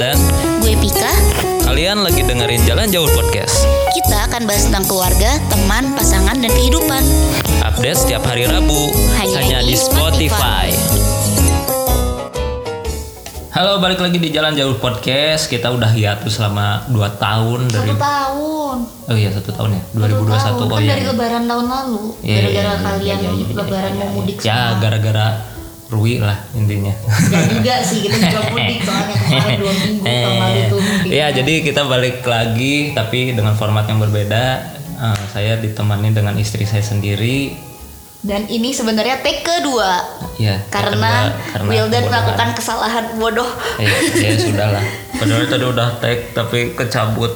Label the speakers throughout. Speaker 1: dan
Speaker 2: Gue Pika,
Speaker 1: kalian lagi dengerin Jalan Jauh Podcast.
Speaker 2: kita akan bahas tentang keluarga, teman, pasangan, dan kehidupan.
Speaker 1: Update setiap hari Rabu
Speaker 2: Hanya
Speaker 1: hanya, di
Speaker 2: di
Speaker 1: Spotify.
Speaker 2: Spotify.
Speaker 1: Halo, balik lagi di Jalan Jauh Podcast. Kita udah hiatus selama 2 tahun dari
Speaker 2: Satu tahun.
Speaker 1: Oh iya, satu tahun ya.
Speaker 2: Satu
Speaker 1: 2021.
Speaker 2: tahun.
Speaker 1: oh
Speaker 2: kan
Speaker 1: iya.
Speaker 2: dari lebaran tahun lalu.
Speaker 1: Iya, iya,
Speaker 2: Gara-gara
Speaker 1: iya,
Speaker 2: kalian
Speaker 1: iya, iya, iya,
Speaker 2: lebaran
Speaker 1: iya,
Speaker 2: mau
Speaker 1: iya.
Speaker 2: mudik
Speaker 1: Ya,
Speaker 2: semua. Ya,
Speaker 1: gara-gara Rui lah intinya.
Speaker 2: Gak juga sih, kita juga mudik soalnya kemarin dua minggu tahun lalu tuh mudik.
Speaker 1: Eh, Iya, jadi kita balik lagi tapi dengan format yang berbeda. Eh, saya ditemani dengan istri saya sendiri.
Speaker 2: Dan ini sebenarnya take kedua.
Speaker 1: Ya,
Speaker 2: Karena,
Speaker 1: kedua, karena
Speaker 2: Wildan
Speaker 1: kebodohan.
Speaker 2: melakukan kesalahan bodoh.
Speaker 1: Iya, ya sudah lah. Padahal tadi udah tag tapi kecabut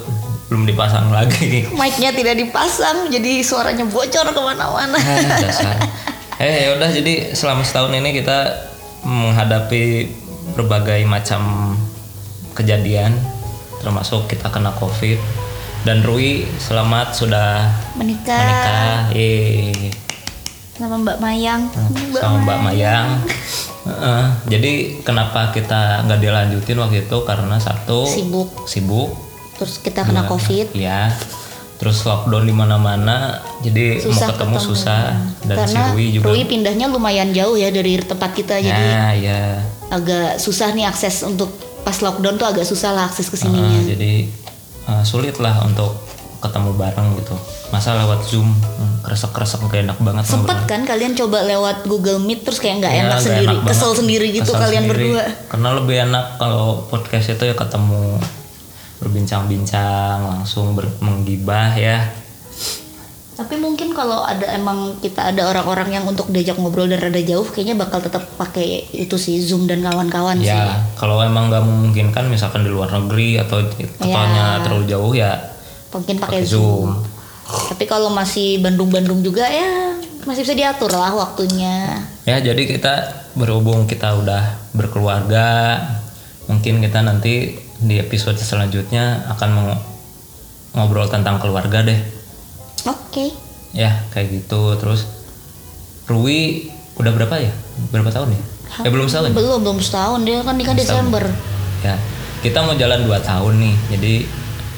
Speaker 1: belum dipasang lagi.
Speaker 2: Mic-nya tidak dipasang, jadi suaranya bocor kemana-mana.
Speaker 1: Ah, dasar. Eh, ya udah jadi selama setahun ini kita menghadapi berbagai macam kejadian termasuk kita kena Covid dan Rui selamat sudah
Speaker 2: Menikah
Speaker 1: menikah Yeay.
Speaker 2: sama Mbak Mayang. Mbak
Speaker 1: Hmm, sama Mbak Mayang. Heeh. jadi kenapa kita nggak dilanjutin waktu itu karena satu
Speaker 2: sibuk.
Speaker 1: sibuk,
Speaker 2: Terus kita kena COVID.
Speaker 1: ya. Terus lockdown di mana-mana, jadi
Speaker 2: Susah
Speaker 1: mau ketemu,
Speaker 2: ketemu.
Speaker 1: susah dan si
Speaker 2: karena
Speaker 1: Rui juga.
Speaker 2: pindahnya lumayan jauh ya dari tempat kita jadi
Speaker 1: Nah, ya.
Speaker 2: agak susah nih akses untuk pas lockdown tuh agak susah lah akses ke
Speaker 1: Heeh,
Speaker 2: sininya.
Speaker 1: jadi eh, sulit lah untuk ketemu bareng gitu. Masa lewat Zoom, hmm, kresek-kresek gak enak banget
Speaker 2: Sempet kan kalian coba lewat Google Meet terus kayak nggak
Speaker 1: Ya,
Speaker 2: enak
Speaker 1: nggak
Speaker 2: sendiri,
Speaker 1: enak banget.
Speaker 2: kesel sendiri gitu
Speaker 1: Kesel
Speaker 2: kalian
Speaker 1: sendiri.
Speaker 2: berdua.
Speaker 1: Karena lebih enak kalau podcast itu ya ketemu berbincang-bincang langsung ber- menggibah ya.
Speaker 2: Tapi mungkin kalau ada emang kita ada orang-orang yang untuk diajak ngobrol dan rada jauh kayaknya bakal tetap pakai itu sih Zoom dan kawan-kawan Iya sih.
Speaker 1: Ya kalau emang nggak memungkinkan misalkan di luar negeri atau
Speaker 2: Iya.
Speaker 1: di- totalnya terlalu jauh ya
Speaker 2: Mungkin pakai
Speaker 1: pakai
Speaker 2: Zoom.
Speaker 1: Zoom.
Speaker 2: Tapi kalau masih Bandung-Bandung juga ya masih bisa diatur lah waktunya.
Speaker 1: Ya jadi kita berhubung kita udah berkeluarga, mungkin kita nanti di episode selanjutnya akan meng- ngobrol tentang keluarga deh.
Speaker 2: Oke.
Speaker 1: ya kayak gitu terus Rui udah berapa ya berapa tahun ya ya belum setahun ya?
Speaker 2: Belum belum setahun dia kan nikah Desember.
Speaker 1: ya kita mau jalan 2 tahun nih jadi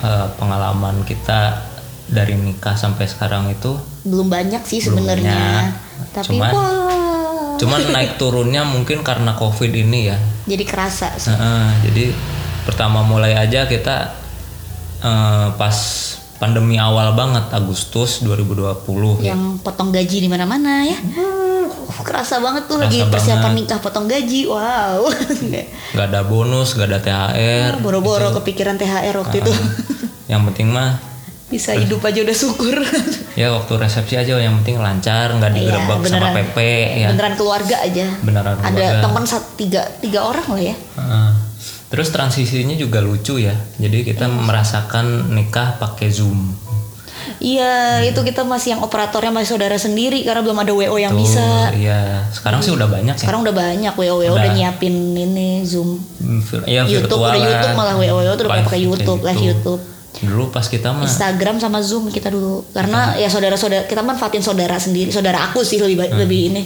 Speaker 1: eh, pengalaman kita dari nikah sampai sekarang itu
Speaker 2: Belum banyak sih sebenarnya. Tapi
Speaker 1: Cuman-
Speaker 2: wah.
Speaker 1: cuman naik turunnya mungkin karena covid ini ya
Speaker 2: Jadi kerasa. sih.
Speaker 1: Heeh, jadi pertama mulai aja kita eh, pas pandemi awal banget Agustus 2020
Speaker 2: yang potong gaji di mana-mana ya. Uh, kerasa banget tuh lagi
Speaker 1: Hmm. Kerasa
Speaker 2: persiapan nikah potong gaji. Wow.
Speaker 1: nggak ada bonus nggak ada
Speaker 2: Iya,
Speaker 1: THR
Speaker 2: Boro-boro
Speaker 1: Iya.
Speaker 2: kepikiran THR waktu itu.
Speaker 1: yang penting mah
Speaker 2: Bisa hidup aja udah syukur.
Speaker 1: Ya waktu resepsi aja yang penting lancar, nggak digerebek sama
Speaker 2: Iya, beneran.
Speaker 1: PP ya.
Speaker 2: Beneran keluarga aja.
Speaker 1: Beneran keluarga.
Speaker 2: Ada teman sat- tiga tiga orang lah ya.
Speaker 1: Heeh. Terus transisinya juga lucu ya. Jadi kita merasakan nikah pakai Zoom. Hmm.
Speaker 2: Iya, itu kita masih yang operatornya masih saudara sendiri karena belum ada WO yang
Speaker 1: Tuh,
Speaker 2: bisa.
Speaker 1: Iya, sekarang sih udah banyak ya.
Speaker 2: Sekarang udah banyak WO WO udah nyiapin ini Zoom.
Speaker 1: Hmm, vir- Ya
Speaker 2: YouTube
Speaker 1: virtualan.
Speaker 2: udah YouTube malah WO WO tuh udah
Speaker 1: Live
Speaker 2: pakai YouTube,
Speaker 1: kayak
Speaker 2: live
Speaker 1: gitu.
Speaker 2: YouTube.
Speaker 1: Dulu pas kita mah
Speaker 2: Instagram sama Zoom kita dulu karena
Speaker 1: Hmm.
Speaker 2: ya saudara-saudara kita manfaatin saudara sendiri, saudara aku sih lebih ba- lebih ini.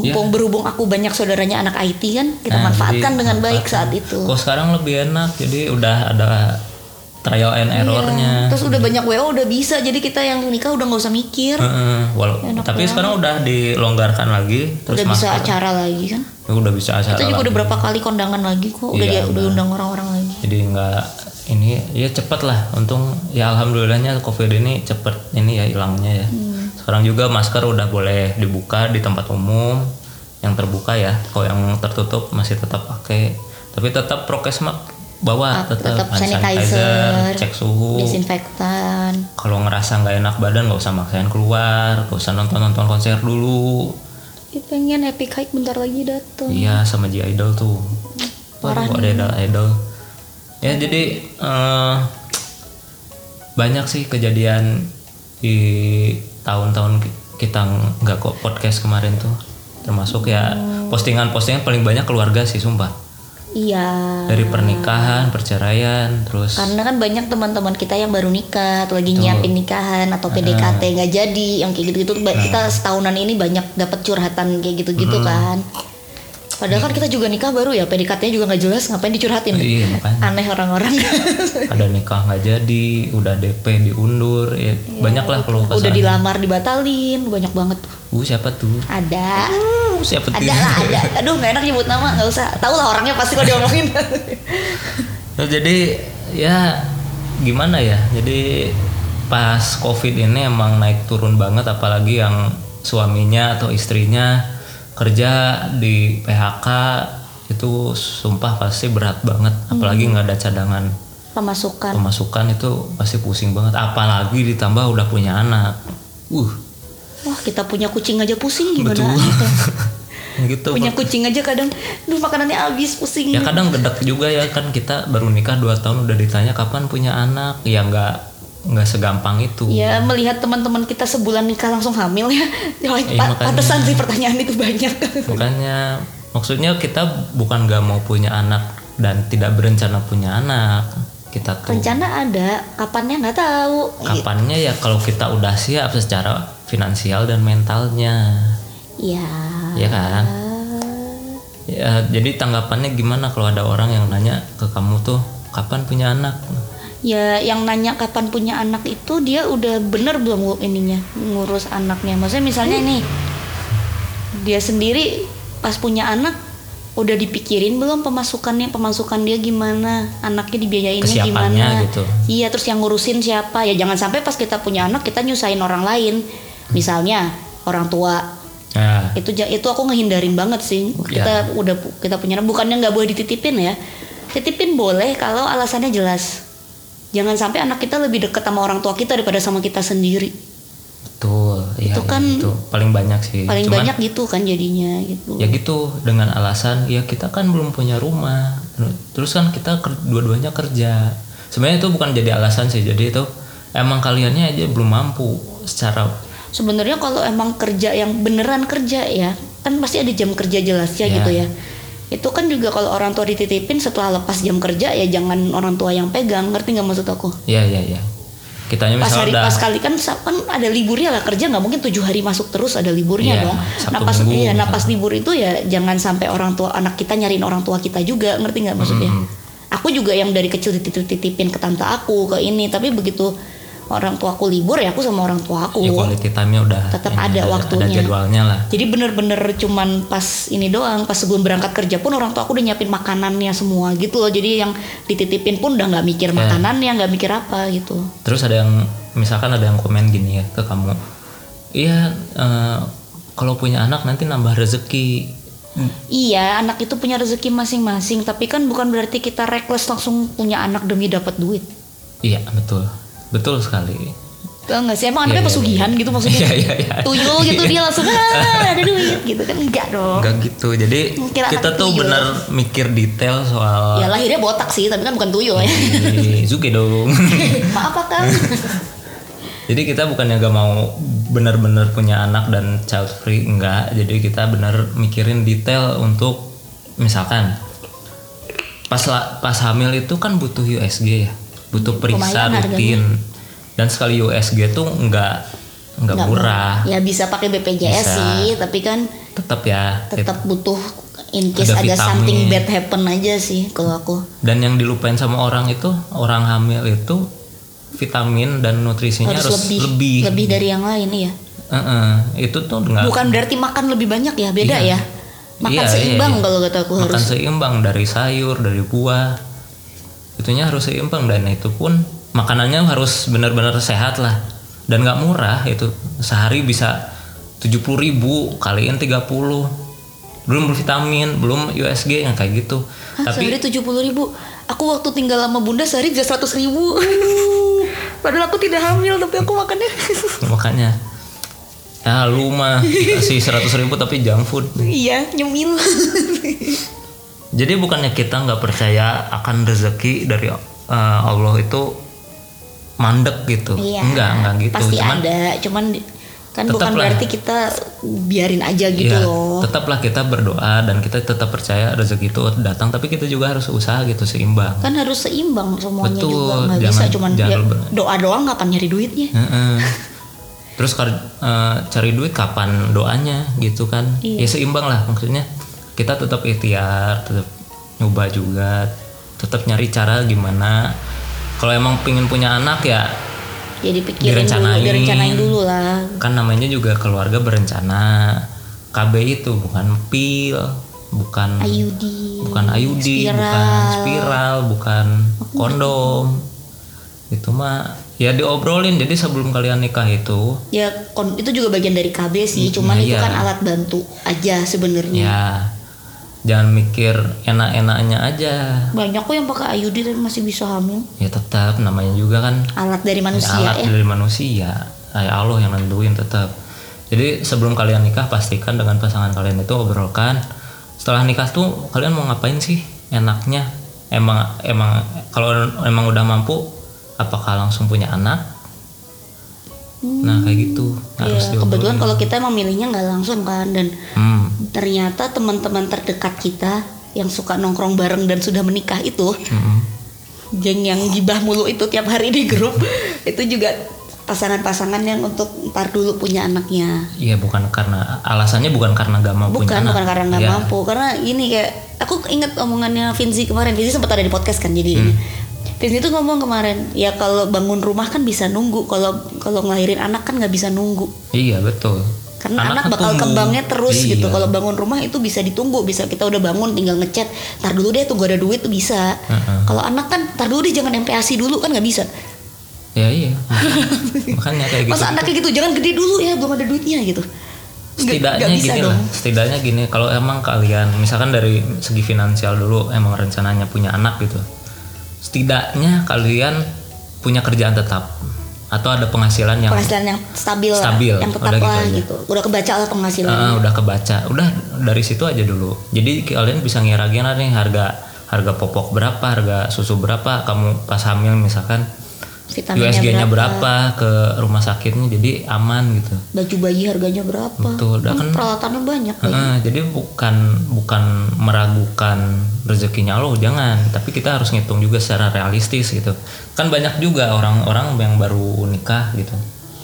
Speaker 1: Iya.
Speaker 2: Mumpung berhubung aku banyak saudaranya anak IT kan, kita
Speaker 1: Nah,
Speaker 2: manfaatkan
Speaker 1: jadi
Speaker 2: dengan baik saat itu.
Speaker 1: kok sekarang lebih enak. Jadi udah ada trial and errornya.
Speaker 2: Terus udah banyak WO udah bisa, jadi kita yang nikah udah nggak usah mikir,
Speaker 1: Heeh, walau- tapi sekarang udah dilonggarkan lagi Hmm, terus
Speaker 2: udah bisa acara lagi kan.
Speaker 1: Ya, udah bisa acara
Speaker 2: Itu juga
Speaker 1: lagi.
Speaker 2: udah berapa kali kondangan lagi kok, udah dia
Speaker 1: Iya,
Speaker 2: udah undang orang-orang lagi.
Speaker 1: jadi nggak ini ya cepet lah untung ya alhamdulillahnya covid ini cepet ini ya hilangnya ya sekarang juga masker udah boleh dibuka di tempat umum yang terbuka ya kalau yang tertutup masih tetap pakai tapi tetap prokes mak bawa tetap,
Speaker 2: tetap
Speaker 1: hand
Speaker 2: sanitizer,
Speaker 1: cek suhu
Speaker 2: Disinfektan.
Speaker 1: kalau ngerasa nggak enak badan nggak usah maksain keluar nggak usah nonton nonton konser dulu
Speaker 2: Ih, pengen epic hike bentar lagi dateng.
Speaker 1: Iya sama J Idol tuh. Parah ada Idol Idol. Ya jadi eh, banyak sih kejadian di tahun-tahun ki- kita nggak kok podcast kemarin tuh termasuk ya
Speaker 2: Hmm.
Speaker 1: postingan-postingan paling banyak keluarga sih sumpah
Speaker 2: Iya.
Speaker 1: dari pernikahan perceraian terus
Speaker 2: Karena kan banyak teman-teman kita yang baru nikah, atau lagi nyiapin nikahan atau PDKT nggak
Speaker 1: Nah.
Speaker 2: jadi, yang kayak gitu-gitu. Ba- Kita setahunan ini banyak dapat curhatan kayak gitu-gitu kan. Padahal kan kita juga nikah baru ya, PDKT-nya juga nggak jelas, ngapain dicurhatin?
Speaker 1: Iya, makanya.
Speaker 2: Aneh orang-orang.
Speaker 1: ada nikah nggak jadi udah DP diundur ya, banyak lah kalau
Speaker 2: Iya, Udah dilamar dibatalin, banyak banget. tuh.
Speaker 1: uh siapa tuh
Speaker 2: Ada.
Speaker 1: uh, siapa tuh
Speaker 2: Ada lah, ada. Aduh, nggak enak nyebut nama, nggak usah. Tahu lah orangnya pasti kalau diomongin.
Speaker 1: Terus Nah, jadi ya gimana ya? Jadi pas COVID ini emang naik turun banget apalagi yang suaminya atau istrinya kerja di PHK itu sumpah pasti berat banget apalagi
Speaker 2: Hmm.
Speaker 1: nggak ada cadangan
Speaker 2: Pemasukan.
Speaker 1: pemasukan itu pasti pusing banget apalagi ditambah udah punya anak. Uh,
Speaker 2: Wah, kita punya kucing aja pusing gimana?
Speaker 1: betul.
Speaker 2: gitu.
Speaker 1: gitu.
Speaker 2: Punya kucing aja kadang, duh makanannya habis pusing.
Speaker 1: Ya kadang gedek juga ya kan kita baru nikah 2 tahun udah ditanya kapan punya anak ya nggak nggak segampang itu.
Speaker 2: Ya melihat teman-teman kita sebulan nikah langsung hamil ya, ya pa-
Speaker 1: makanya.
Speaker 2: pantesan sih pertanyaan itu banyak.
Speaker 1: Makanya maksudnya kita bukan gak mau punya anak dan tidak berencana punya anak. Kita tuh
Speaker 2: Rencana ada, kapannya nggak tahu.
Speaker 1: kapannya ya kalau kita udah siap secara finansial dan mentalnya,
Speaker 2: Iya.
Speaker 1: ya kan? Ya, jadi tanggapannya gimana kalau ada orang yang nanya ke kamu tuh kapan punya anak?
Speaker 2: Ya, yang nanya kapan punya anak itu dia udah bener belum ngu- ininya ngurus anaknya. Maksudnya misalnya
Speaker 1: Hmm.
Speaker 2: nih dia sendiri pas punya anak udah dipikirin belum pemasukannya pemasukan dia gimana anaknya dibiayainnya
Speaker 1: Kesiapannya
Speaker 2: gimana
Speaker 1: gitu.
Speaker 2: iya terus yang ngurusin siapa ya jangan sampai pas kita punya anak kita nyusahin orang lain misalnya orang tua
Speaker 1: Nah,
Speaker 2: itu ja- itu aku ngehindarin banget sih kita udah pu- kita punya bukannya nggak boleh dititipin ya titipin boleh kalau alasannya jelas jangan sampai anak kita lebih dekat sama orang tua kita daripada sama kita sendiri
Speaker 1: betul. Iya,
Speaker 2: Itu
Speaker 1: iya,
Speaker 2: kan
Speaker 1: gitu. paling banyak sih.
Speaker 2: paling
Speaker 1: Cuman,
Speaker 2: banyak gitu kan jadinya gitu
Speaker 1: ya gitu dengan alasan ya kita kan belum punya rumah terus kan kita ker- dua-duanya kerja sebenarnya itu bukan jadi alasan sih jadi itu emang kaliannya aja belum mampu secara
Speaker 2: sebenarnya kalau emang kerja yang beneran kerja ya kan pasti ada jam kerja jelasnya
Speaker 1: Ya.
Speaker 2: gitu ya itu kan juga kalau orang tua dititipin setelah lepas jam kerja ya jangan orang tua yang pegang ngerti nggak maksud aku
Speaker 1: ya ya ya kitanya
Speaker 2: pas
Speaker 1: misalnya
Speaker 2: hari
Speaker 1: udah
Speaker 2: pas kali kan sa- kan ada liburnya lah kerja nggak mungkin tujuh hari masuk terus ada liburnya
Speaker 1: Iya,
Speaker 2: dong.
Speaker 1: Sabtu
Speaker 2: Nah pas
Speaker 1: Minggu
Speaker 2: iya, nah
Speaker 1: misalnya.
Speaker 2: pas libur itu ya jangan sampai orang tua anak kita nyariin orang tua kita juga ngerti nggak maksudnya? Aku juga yang dari kecil dititip-titipin ke tante aku ke ini tapi begitu orang tua aku libur ya aku sama orang tua aku.
Speaker 1: ya quality time-nya udah
Speaker 2: Tetap
Speaker 1: ini,
Speaker 2: ada waktunya.
Speaker 1: ada jadwalnya lah
Speaker 2: Jadi bener-bener cuman pas ini doang pas sebelum berangkat kerja pun orang tua aku udah nyiapin makanannya semua gitu loh jadi yang dititipin pun udah
Speaker 1: Ya.
Speaker 2: nggak mikir makanannya nggak mikir apa gitu.
Speaker 1: terus ada yang misalkan ada yang komen gini ya ke kamu iya eh, kalau punya anak nanti nambah rezeki
Speaker 2: Iya, anak itu punya rezeki masing-masing, tapi kan bukan berarti kita reckless langsung punya anak demi dapat duit.
Speaker 1: iya betul betul sekali
Speaker 2: Tau nggak sih? Emang anaknya
Speaker 1: Iya, iya,
Speaker 2: pesugihan gitu maksudnya?
Speaker 1: Iya, iya, iya.
Speaker 2: Tuyul gitu dia langsung "Ah, ada duit gitu kan enggak dong.
Speaker 1: Enggak gitu. Jadi
Speaker 2: Mungkin akan
Speaker 1: kita tuh
Speaker 2: tuyul.
Speaker 1: benar mikir detail soal
Speaker 2: Ya lahirnya botak sih, tapi kan bukan tuyul
Speaker 1: Iya.
Speaker 2: ya.
Speaker 1: Ih, Zuki dong.
Speaker 2: Maaf Pak, Kang.
Speaker 1: Jadi kita bukannya gak mau benar-benar punya anak dan child free enggak. Jadi kita benar mikirin detail untuk misalkan pas la- pas hamil itu kan butuh USG ya. Butuh periksa
Speaker 2: Hmm, Lumayan harganya.
Speaker 1: rutin. Dan sekali USG tuh enggak enggak
Speaker 2: Nggak
Speaker 1: murah.
Speaker 2: Ya bisa pakai BPJS
Speaker 1: Ah. Bisa.
Speaker 2: sih, tapi kan
Speaker 1: Tetap ya.
Speaker 2: tetap butuh in case
Speaker 1: Ada
Speaker 2: ada,
Speaker 1: vitamin.
Speaker 2: something bad happen aja sih kalau aku.
Speaker 1: Dan yang dilupain sama orang itu orang hamil itu vitamin dan nutrisinya
Speaker 2: Harus,
Speaker 1: harus,
Speaker 2: lebih, lebih
Speaker 1: lebih
Speaker 2: dari yang lain iya.
Speaker 1: Heeh, itu tuh nggak
Speaker 2: Bukan berarti makan lebih banyak ya, beda
Speaker 1: Iya.
Speaker 2: ya. Makan
Speaker 1: Iya, iya,
Speaker 2: seimbang
Speaker 1: iya.
Speaker 2: kalau kata aku harus.
Speaker 1: makan seimbang dari sayur dari buah itunya harus seimbang dan itu pun makanannya harus benar-benar sehat lah dan nggak murah itu sehari bisa 70.000 ribu kaliin 30 belum vitamin belum USG yang kayak gitu
Speaker 2: Hah,
Speaker 1: tapi
Speaker 2: sehari tujuh puluh ribu. Aku waktu tinggal sama bunda sehari bisa seratus ribu. Aduh, Padahal aku tidak hamil tapi aku makannya.
Speaker 1: makanya ya lu mah kasih 100.000 ribu tapi junk food
Speaker 2: iya nyemil.
Speaker 1: Jadi bukannya kita nggak percaya akan rezeki dari eh, Allah itu mandek gitu? Enggak, enggak gitu.
Speaker 2: Iya, Pasti
Speaker 1: Cuman
Speaker 2: ada, cuman di- kan
Speaker 1: Tetap
Speaker 2: bukan
Speaker 1: lah.
Speaker 2: berarti kita biarin aja gitu
Speaker 1: ya,
Speaker 2: loh.
Speaker 1: tetaplah kita berdoa dan kita tetap percaya rezeki itu datang. Tapi kita juga harus usaha gitu seimbang.
Speaker 2: Kan harus seimbang semuanya
Speaker 1: Betul,
Speaker 2: juga nggak
Speaker 1: jangan-
Speaker 2: bisa cuman
Speaker 1: jangan
Speaker 2: ya,
Speaker 1: lebar.
Speaker 2: doa doang kapan nyari duitnya.
Speaker 1: Heeh. Terus kar- eh, cari duit kapan doanya gitu kan? Ya seimbang lah maksudnya. kita tetap ikhtiar tetap nyoba juga tetap nyari cara gimana kalau emang pingin punya anak ya
Speaker 2: ya dipikirin
Speaker 1: Direncanain.
Speaker 2: dulu direncanain dulu lah
Speaker 1: kan namanya juga keluarga berencana KB itu bukan pil bukan
Speaker 2: Ayudi
Speaker 1: bukan IUD bukan spiral bukan kondom itu mah ya diobrolin jadi sebelum kalian nikah itu
Speaker 2: ya kon- itu juga bagian dari KB sih cuman itu
Speaker 1: iya.
Speaker 2: kan alat bantu aja sebenarnya
Speaker 1: ya jangan mikir enak-enaknya aja
Speaker 2: banyak kok yang pakai IUD tapi masih bisa hamil
Speaker 1: ya tetap namanya juga kan
Speaker 2: alat dari manusia
Speaker 1: alat
Speaker 2: ya
Speaker 1: dari manusia kayak Allah yang nentuin tetap jadi sebelum kalian nikah pastikan dengan pasangan kalian itu obrolkan setelah nikah tuh kalian mau ngapain sih enaknya emang emang kalau emang udah mampu apakah langsung punya anak nah kayak gitu harus
Speaker 2: Ya,
Speaker 1: diobrolin.
Speaker 2: Hmm. kebetulan kalau kita memilihnya nggak langsung kan dan
Speaker 1: hmm,
Speaker 2: ternyata teman-teman terdekat kita yang suka nongkrong bareng dan sudah menikah itu
Speaker 1: mm-mm.
Speaker 2: geng yang gibah mulu itu tiap hari di grup itu juga pasangan-pasangan yang untuk ntar dulu punya anaknya
Speaker 1: Iya bukan karena alasannya bukan karena gak mau punya
Speaker 2: bukan
Speaker 1: anak.
Speaker 2: bukan karena nggak
Speaker 1: Iya.
Speaker 2: mampu karena ini kayak aku inget omongannya Vinzi kemarin Vinzi sempat ada di podcast kan jadi
Speaker 1: Hmm.
Speaker 2: ini Vinzi tuh ngomong kemarin ya kalau bangun rumah kan bisa nunggu kalau kalau ngelahirin anak kan nggak bisa nunggu
Speaker 1: Iya betul.
Speaker 2: karena anak,
Speaker 1: kan
Speaker 2: bakal
Speaker 1: tumbuh.
Speaker 2: kembangnya terus
Speaker 1: Iya.
Speaker 2: gitu kalau bangun rumah itu bisa ditunggu bisa kita udah bangun tinggal ngechat ntar dulu deh tunggu ada duit tuh bisa
Speaker 1: Heeh.
Speaker 2: kalau anak kan ntar dulu deh jangan MPASI dulu kan nggak bisa
Speaker 1: Ya iya. Makanya kayak gitu.
Speaker 2: masa anaknya gitu jangan gede dulu ya belum ada duitnya gitu Nggak-
Speaker 1: setidaknya
Speaker 2: nggak bisa
Speaker 1: gini
Speaker 2: dong
Speaker 1: lah setidaknya gini kalau emang kalian misalkan dari segi finansial dulu emang rencananya punya anak gitu setidaknya kalian punya kerjaan tetap atau ada penghasilan yang
Speaker 2: penghasilan yang stabil, lah,
Speaker 1: Stabil,
Speaker 2: yang tetap
Speaker 1: udah gitu
Speaker 2: lah
Speaker 1: aja.
Speaker 2: gitu udah kebaca lah penghasilan
Speaker 1: eh, udah kebaca udah dari situ aja dulu jadi kalian bisa ngira-ngira nih harga harga popok berapa harga susu berapa kamu pas hamil misalkan
Speaker 2: vitaminnya
Speaker 1: USG-nya
Speaker 2: berapa
Speaker 1: berapa ke rumah sakitnya jadi aman gitu
Speaker 2: baju bayi harganya berapa
Speaker 1: Betul, udah
Speaker 2: Kan
Speaker 1: kan-
Speaker 2: peralatannya banyak
Speaker 1: Heeh, jadi bukan bukan meragukan rezekinya lo jangan tapi kita harus ngitung juga secara realistis gitu kan banyak juga orang-orang yang baru nikah gitu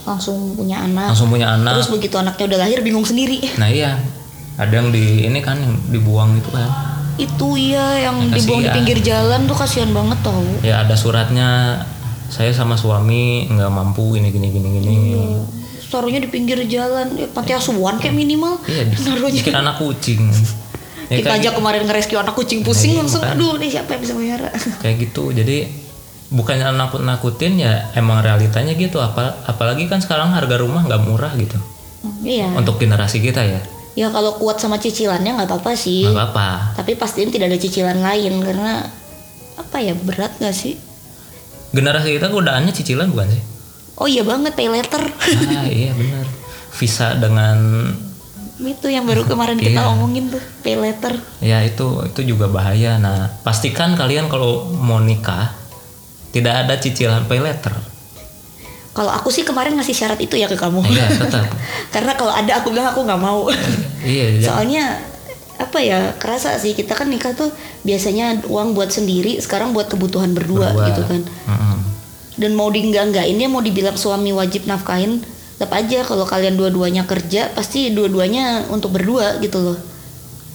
Speaker 2: langsung punya anak
Speaker 1: langsung punya anak
Speaker 2: terus begitu anaknya udah lahir bingung sendiri
Speaker 1: nah iya ada yang di ini kan yang dibuang itu kan
Speaker 2: itu iya yang dibuang di
Speaker 1: kasihan.
Speaker 2: pinggir jalan tuh kasihan banget tau
Speaker 1: ya ada suratnya saya sama suami nggak mampu ini gini gini gini
Speaker 2: taruhnya di pinggir jalan ya, panti asuhan kayak minimal
Speaker 1: iya di-
Speaker 2: taruhnya
Speaker 1: dikira anak kucing ya,
Speaker 2: kita
Speaker 1: kayak,
Speaker 2: aja kemarin ngerescue anak kucing pusing
Speaker 1: Nah, iya,
Speaker 2: langsung
Speaker 1: makanya.
Speaker 2: aduh nih siapa yang bisa melihara
Speaker 1: kayak gitu jadi bukannya nakut-nakutin ya emang realitanya gitu apa apalagi kan sekarang harga rumah nggak murah gitu
Speaker 2: Hmm, iya
Speaker 1: untuk generasi kita ya
Speaker 2: ya kalau kuat sama cicilannya nggak apa-apa sih
Speaker 1: nggak apa-apa
Speaker 2: tapi pastiin tidak ada cicilan lain karena apa ya berat gak sih
Speaker 1: generasi kita godaannya cicilan bukan sih
Speaker 2: oh iya banget pay letter
Speaker 1: ah iya benar visa dengan
Speaker 2: itu yang baru kemarin kita
Speaker 1: Iya.
Speaker 2: omongin tuh pay letter
Speaker 1: ya itu itu juga bahaya nah pastikan kalian kalau mau nikah tidak ada cicilan pay letter
Speaker 2: kalau aku sih kemarin ngasih syarat itu ya ke kamu
Speaker 1: Nah, iya tetap
Speaker 2: karena kalau ada aku bilang aku nggak mau
Speaker 1: iya iya.
Speaker 2: soalnya apa ya kerasa sih kita kan nikah tuh biasanya uang buat sendiri sekarang buat kebutuhan berdua,
Speaker 1: Berdua.
Speaker 2: gitu kan
Speaker 1: Mm-mm.
Speaker 2: dan mau dienggak-enggakin ya mau dibilang suami wajib nafkahin tetap aja kalau kalian dua-duanya kerja pasti dua-duanya untuk berdua gitu loh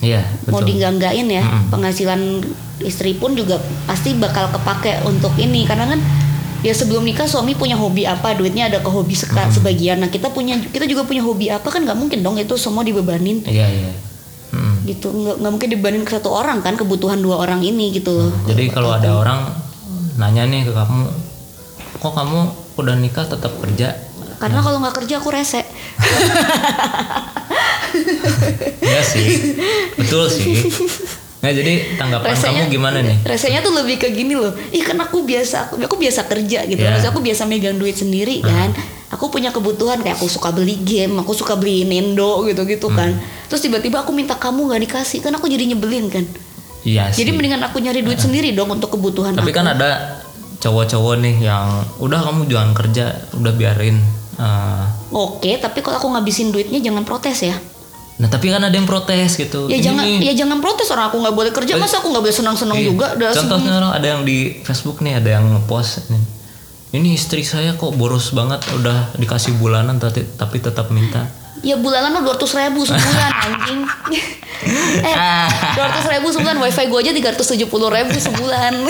Speaker 1: iya
Speaker 2: mau
Speaker 1: betul
Speaker 2: dienggak-enggakin ya
Speaker 1: Mm-mm.
Speaker 2: penghasilan istri pun juga pasti bakal kepake untuk ini karena kan ya sebelum nikah suami punya hobi apa duitnya ada ke hobi seka- sebagian nah kita punya kita juga punya hobi apa kan nggak mungkin dong itu semua dibebanin
Speaker 1: iya iya Mm-mm.
Speaker 2: gitu nggak nggak mungkin dibebanin ke satu orang kan kebutuhan dua orang ini gitu loh
Speaker 1: Jadi kalau ada orang nanya nih ke kamu, kok kamu udah nikah tetap kerja?
Speaker 2: karena kalau nggak kerja aku rese
Speaker 1: Iya sih, betul sih. Nah jadi tanggapan kamu
Speaker 2: Rasanya-
Speaker 1: gimana nih?
Speaker 2: rasanya tuh lebih ke gini loh ih kan aku biasa aku, aku biasa kerja gitu
Speaker 1: Ya.
Speaker 2: Maksudnya aku biasa megang duit sendiri kan aku punya kebutuhan kayak aku suka beli game aku suka beli Nintendo gitu gitu kan
Speaker 1: Hmm.
Speaker 2: terus tiba-tiba aku minta kamu nggak dikasih kan aku jadi nyebelin kan
Speaker 1: Iya sih.
Speaker 2: jadi mendingan aku nyari duit sendiri dong untuk kebutuhan
Speaker 1: Tapi
Speaker 2: aku
Speaker 1: kan ada cowok-cowok nih yang udah kamu jangan kerja, udah biarin. Eh,
Speaker 2: oke tapi kalau aku ngabisin duitnya jangan protes ya
Speaker 1: nah tapi kan ada yang protes gitu. Ini
Speaker 2: ya jangan
Speaker 1: nih,
Speaker 2: ya jangan protes orang aku nggak boleh kerja masa aku nggak boleh senang-senang
Speaker 1: Iya.
Speaker 2: juga udah
Speaker 1: Contohnya orang ada yang di Facebook nih ada yang ngepost nih. Ini istri saya kok boros banget udah dikasih bulanan tapi tapi tetap minta.
Speaker 2: Ya bulanan lo 200 ribu sebulan anjing Eh 200 ribu sebulan wifi gue aja 370 ribu sebulan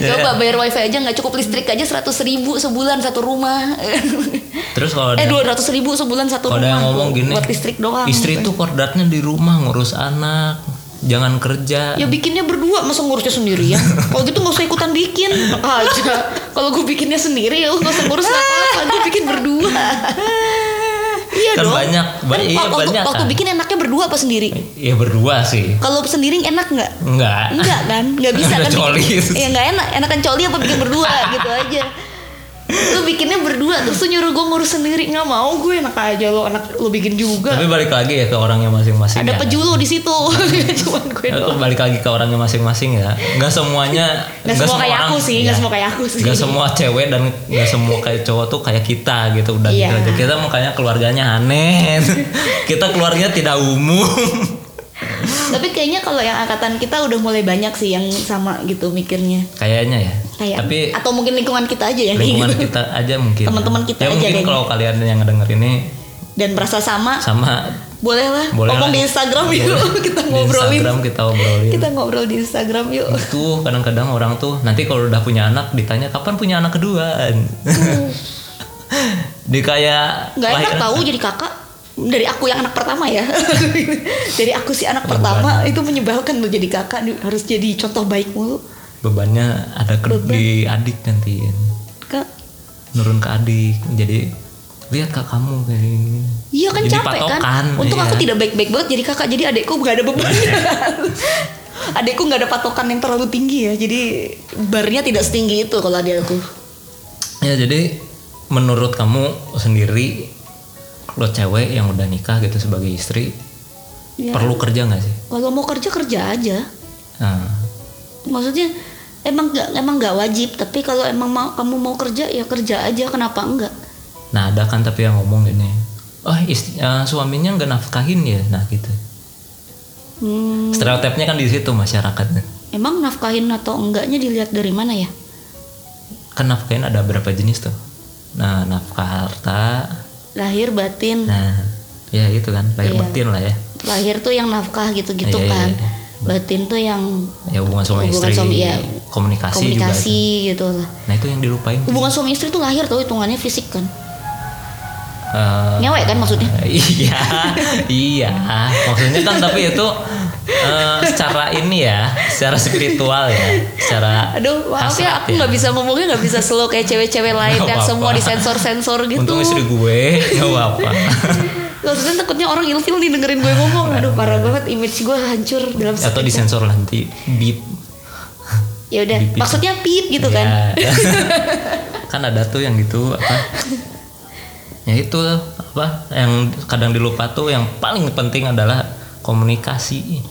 Speaker 1: Ya.
Speaker 2: Coba bayar wifi aja nggak cukup listrik aja 100 ribu sebulan satu rumah
Speaker 1: Terus kalau ada,
Speaker 2: Eh 200 ribu sebulan satu
Speaker 1: kalau ada
Speaker 2: rumah
Speaker 1: yang ngomong gini,
Speaker 2: Buat listrik doang gitu ya.
Speaker 1: istri tuh kordatnya di rumah ngurus anak, jangan kerja.
Speaker 2: Ya bikinnya berdua masa ngurusnya sendiri ya Kalau gitu nggak usah ikutan bikin Enak aja Kalau gue bikinnya sendiri ya lu nggak usah ngurus apa-apa Gue bikin berdua Iya
Speaker 1: Kan
Speaker 2: dong
Speaker 1: banyak, ba-
Speaker 2: Kan
Speaker 1: iya,
Speaker 2: waktu-
Speaker 1: banyak
Speaker 2: Waktu
Speaker 1: kan.
Speaker 2: bikin enaknya berdua apa sendiri?
Speaker 1: Ya berdua sih,
Speaker 2: Kalau sendiri enak nggak?
Speaker 1: enggak.
Speaker 2: Enggak kan? Nggak bisa
Speaker 1: Ada
Speaker 2: kan?
Speaker 1: coli.
Speaker 2: bikin- Iya nggak enak. Enakan coli apa bikin berdua gitu aja. Lu bikinnya berdua terus lu nyuruh gue ngurus sendiri nggak mau gue enak aja lo enak lo bikin juga.
Speaker 1: Tapi balik lagi ya ke orangnya masing-masing.
Speaker 2: Ada
Speaker 1: ya.
Speaker 2: pejulu di situ. Cuman
Speaker 1: Ya,
Speaker 2: gue
Speaker 1: tuh
Speaker 2: doang.
Speaker 1: balik lagi ke orangnya masing-masing ya. Nggak semuanya,
Speaker 2: Nggak semua kayak aku sih, nggak
Speaker 1: ya.
Speaker 2: semua kayak aku sih.
Speaker 1: Nggak semua cewek dan nggak semua kayak cowok tuh kayak kita gitu udah
Speaker 2: Iya.
Speaker 1: gitu aja. Kita makanya keluarganya aneh. kita keluarganya tidak umum.
Speaker 2: Tapi kayaknya kalau yang angkatan kita udah mulai banyak sih yang sama gitu mikirnya.
Speaker 1: Kayaknya ya.
Speaker 2: Kayak
Speaker 1: Tapi
Speaker 2: atau mungkin lingkungan kita aja yang kayak
Speaker 1: lingkungan
Speaker 2: gitu.
Speaker 1: kita aja mungkin.
Speaker 2: Teman-teman kita
Speaker 1: ya,
Speaker 2: aja
Speaker 1: mungkin
Speaker 2: kayaknya.
Speaker 1: kalau kalian yang denger ini
Speaker 2: Dan merasa sama,
Speaker 1: sama
Speaker 2: boleh lah.
Speaker 1: boleh
Speaker 2: Ngomong
Speaker 1: lah.
Speaker 2: di Instagram
Speaker 1: Boleh.
Speaker 2: yuk kita
Speaker 1: Di
Speaker 2: ngobrolin.
Speaker 1: Instagram kita ngobrolin.
Speaker 2: Kita ngobrol di Instagram yuk.
Speaker 1: itu kadang-kadang orang tuh nanti kalau udah punya anak ditanya kapan punya anak kedua di kayak
Speaker 2: Hmm. nggak enak
Speaker 1: lahir-
Speaker 2: tahu jadi kakak dari aku yang anak pertama ya dari aku si anak pertama itu menyebalkan lo jadi kakak di- harus jadi contoh baik mulu
Speaker 1: bebannya ada ke di adik nanti
Speaker 2: kak
Speaker 1: nurun ke adik jadi lihat kak kamu kayak gini
Speaker 2: iya kan
Speaker 1: Jadi
Speaker 2: capek kan
Speaker 1: patokan,
Speaker 2: untuk
Speaker 1: iya.
Speaker 2: aku tidak baik baik banget jadi kakak jadi adekku nggak ada beban adekku nggak ada patokan yang terlalu tinggi ya jadi barnya tidak setinggi itu kalau ada aku
Speaker 1: ya jadi menurut kamu sendiri lo cewek yang udah nikah gitu sebagai istri
Speaker 2: Ya.
Speaker 1: perlu kerja nggak sih
Speaker 2: kalau mau kerja kerja aja
Speaker 1: nah,
Speaker 2: maksudnya emang nggak emang nggak wajib tapi kalau emang mau kamu mau kerja ya kerja aja kenapa enggak
Speaker 1: nah ada kan tapi yang ngomong gini oh istri, eh, suaminya nggak nafkahin ya nah gitu
Speaker 2: hmm.
Speaker 1: stereotipnya kan di situ masyarakatnya
Speaker 2: Emang nafkahin atau enggaknya dilihat dari mana ya?
Speaker 1: kan nafkahin ada berapa jenis tuh nah nafkah harta
Speaker 2: Lahir batin.
Speaker 1: nah ya itu kan lahir
Speaker 2: Hmm. Iya.
Speaker 1: batin lah ya
Speaker 2: Lahir tuh yang nafkah gitu-gitu
Speaker 1: Iya, iya,
Speaker 2: kan.
Speaker 1: iya.
Speaker 2: Batin tuh yang
Speaker 1: ya hubungan suami
Speaker 2: Hubungan
Speaker 1: istri
Speaker 2: suami, iya.
Speaker 1: komunikasi, juga
Speaker 2: komunikasi gitu lah.
Speaker 1: ada. nah itu yang dilupain
Speaker 2: Hubungan suami istri tuh lahir tuh hitungannya fisik kan.
Speaker 1: Eh,
Speaker 2: Nyewe kan maksudnya.
Speaker 1: iya iya maksudnya kan tapi itu eh, secara ini ya secara spiritual ya secara
Speaker 2: Aduh, maaf
Speaker 1: hasrat
Speaker 2: ya aku nggak bisa ngomongnya nggak bisa slow kayak cewek-cewek lain
Speaker 1: Nggak
Speaker 2: yang
Speaker 1: apa-apa.
Speaker 2: semua disensor-sensor gitu.
Speaker 1: untung istri gue nggak apa-apa
Speaker 2: Maksudnya takutnya orang ilfil nih dengerin gue ngomong. Aduh, parah banget image gue hancur dalam
Speaker 1: Ya, atau
Speaker 2: sekejap.
Speaker 1: disensor lah nanti beep
Speaker 2: Ya udah,
Speaker 1: dipip.
Speaker 2: maksudnya pip gitu kan.
Speaker 1: Ya. kan ada tuh yang gitu apa? ya itu apa yang kadang dilupa tuh yang paling penting adalah komunikasi.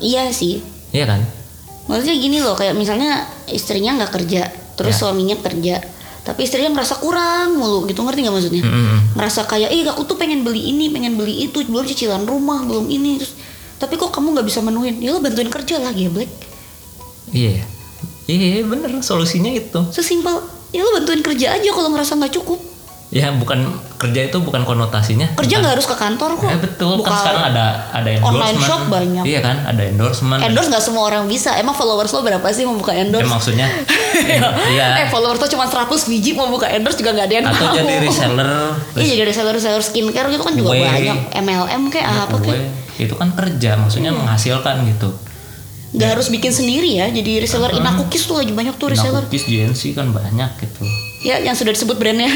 Speaker 2: Iya sih.
Speaker 1: Iya kan?
Speaker 2: Maksudnya gini loh, kayak misalnya istrinya nggak kerja, terus
Speaker 1: Ya.
Speaker 2: suaminya kerja, tapi istrinya ngerasa kurang mulu gitu, ngerti nggak maksudnya?
Speaker 1: Mm-mm.
Speaker 2: Ngerasa kayak, eh aku tuh pengen beli ini, pengen beli itu, belum cicilan rumah, belum ini, terus tapi kok kamu nggak bisa menuhin? Ya lo bantuin kerja lah, geblek.
Speaker 1: Iya. Iya bener solusinya itu.
Speaker 2: Sesimpel, ya lo bantuin kerja aja kalau ngerasa nggak cukup.
Speaker 1: Ya bukan kerja itu bukan konotasinya.
Speaker 2: Kerja nggak harus ke kantor kok.
Speaker 1: Ya, betul
Speaker 2: Buka
Speaker 1: kan sekarang ada ada endorsement.
Speaker 2: online shop banyak.
Speaker 1: Iya kan? Ada endorsement.
Speaker 2: endorse nggak semua orang bisa. Emang followers lo berapa sih membuka
Speaker 1: Ya,
Speaker 2: endorse?
Speaker 1: maksudnya. iya.
Speaker 2: Eh followers lo cuma 100 biji mau buka endorse juga nggak ada yang
Speaker 1: Atau
Speaker 2: mau.
Speaker 1: jadi reseller.
Speaker 2: Iya jadi reseller-reseller skincare gitu kan juga
Speaker 1: Weh.
Speaker 2: banyak MLM kayak
Speaker 1: ya,
Speaker 2: apa
Speaker 1: gue,
Speaker 2: kayak Iya.
Speaker 1: itu kan kerja maksudnya menghasilkan gitu.
Speaker 2: nggak harus bikin sendiri ya jadi reseller Inakukis tuh lagi banyak
Speaker 1: Nah,
Speaker 2: tuh reseller
Speaker 1: cookies GNC kan banyak gitu.
Speaker 2: ya yang sudah disebut brandnya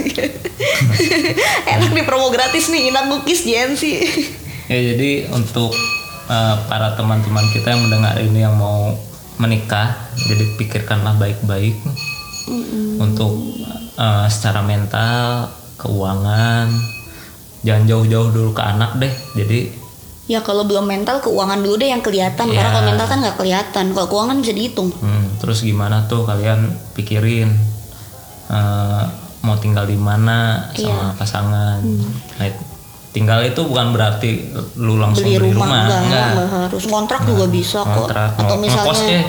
Speaker 2: enak nih promo gratis nih Inakukis JNC
Speaker 1: Ya jadi untuk eh, para teman-teman kita yang mendengar ini yang mau menikah, jadi pikirkanlah baik-baik untuk eh, secara mental, keuangan, jangan jauh-jauh dulu ke anak deh. Jadi
Speaker 2: ya kalau belum mental keuangan dulu deh yang kelihatan karena
Speaker 1: Iya.
Speaker 2: kalau mental kan nggak kelihatan kalau keuangan bisa dihitung
Speaker 1: hmm, terus gimana tuh kalian pikirin eh, mau tinggal di mana
Speaker 2: Iya.
Speaker 1: sama pasangan.
Speaker 2: Hmm.
Speaker 1: Nah, it- tinggal itu bukan berarti lu langsung beli,
Speaker 2: beli rumah,
Speaker 1: rumah,
Speaker 2: nggak
Speaker 1: enggak.
Speaker 2: nggak harus kontrak juga bisa kok
Speaker 1: kontrak
Speaker 2: atau
Speaker 1: ngo- ngekos
Speaker 2: misalnya
Speaker 1: deh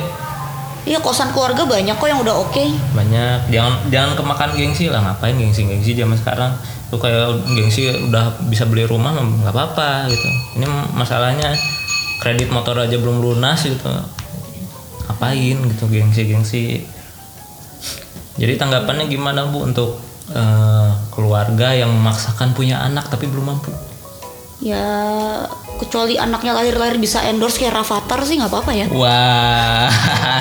Speaker 2: iya kosan keluarga banyak kok yang udah oke
Speaker 1: banyak jangan jangan kemakan gengsi lah ngapain gengsi gengsi zaman sekarang lu kayak gengsi udah bisa beli rumah mah nggak apa-apa gitu ini masalahnya kredit motor aja belum lunas gitu ngapain gitu gengsi-gengsi jadi tanggapannya gimana bu untuk eh, keluarga yang memaksakan punya anak tapi belum mampu
Speaker 2: ya kecuali anaknya lahir-lahir bisa endorse kayak Rafathar sih nggak apa-apa ya
Speaker 1: wah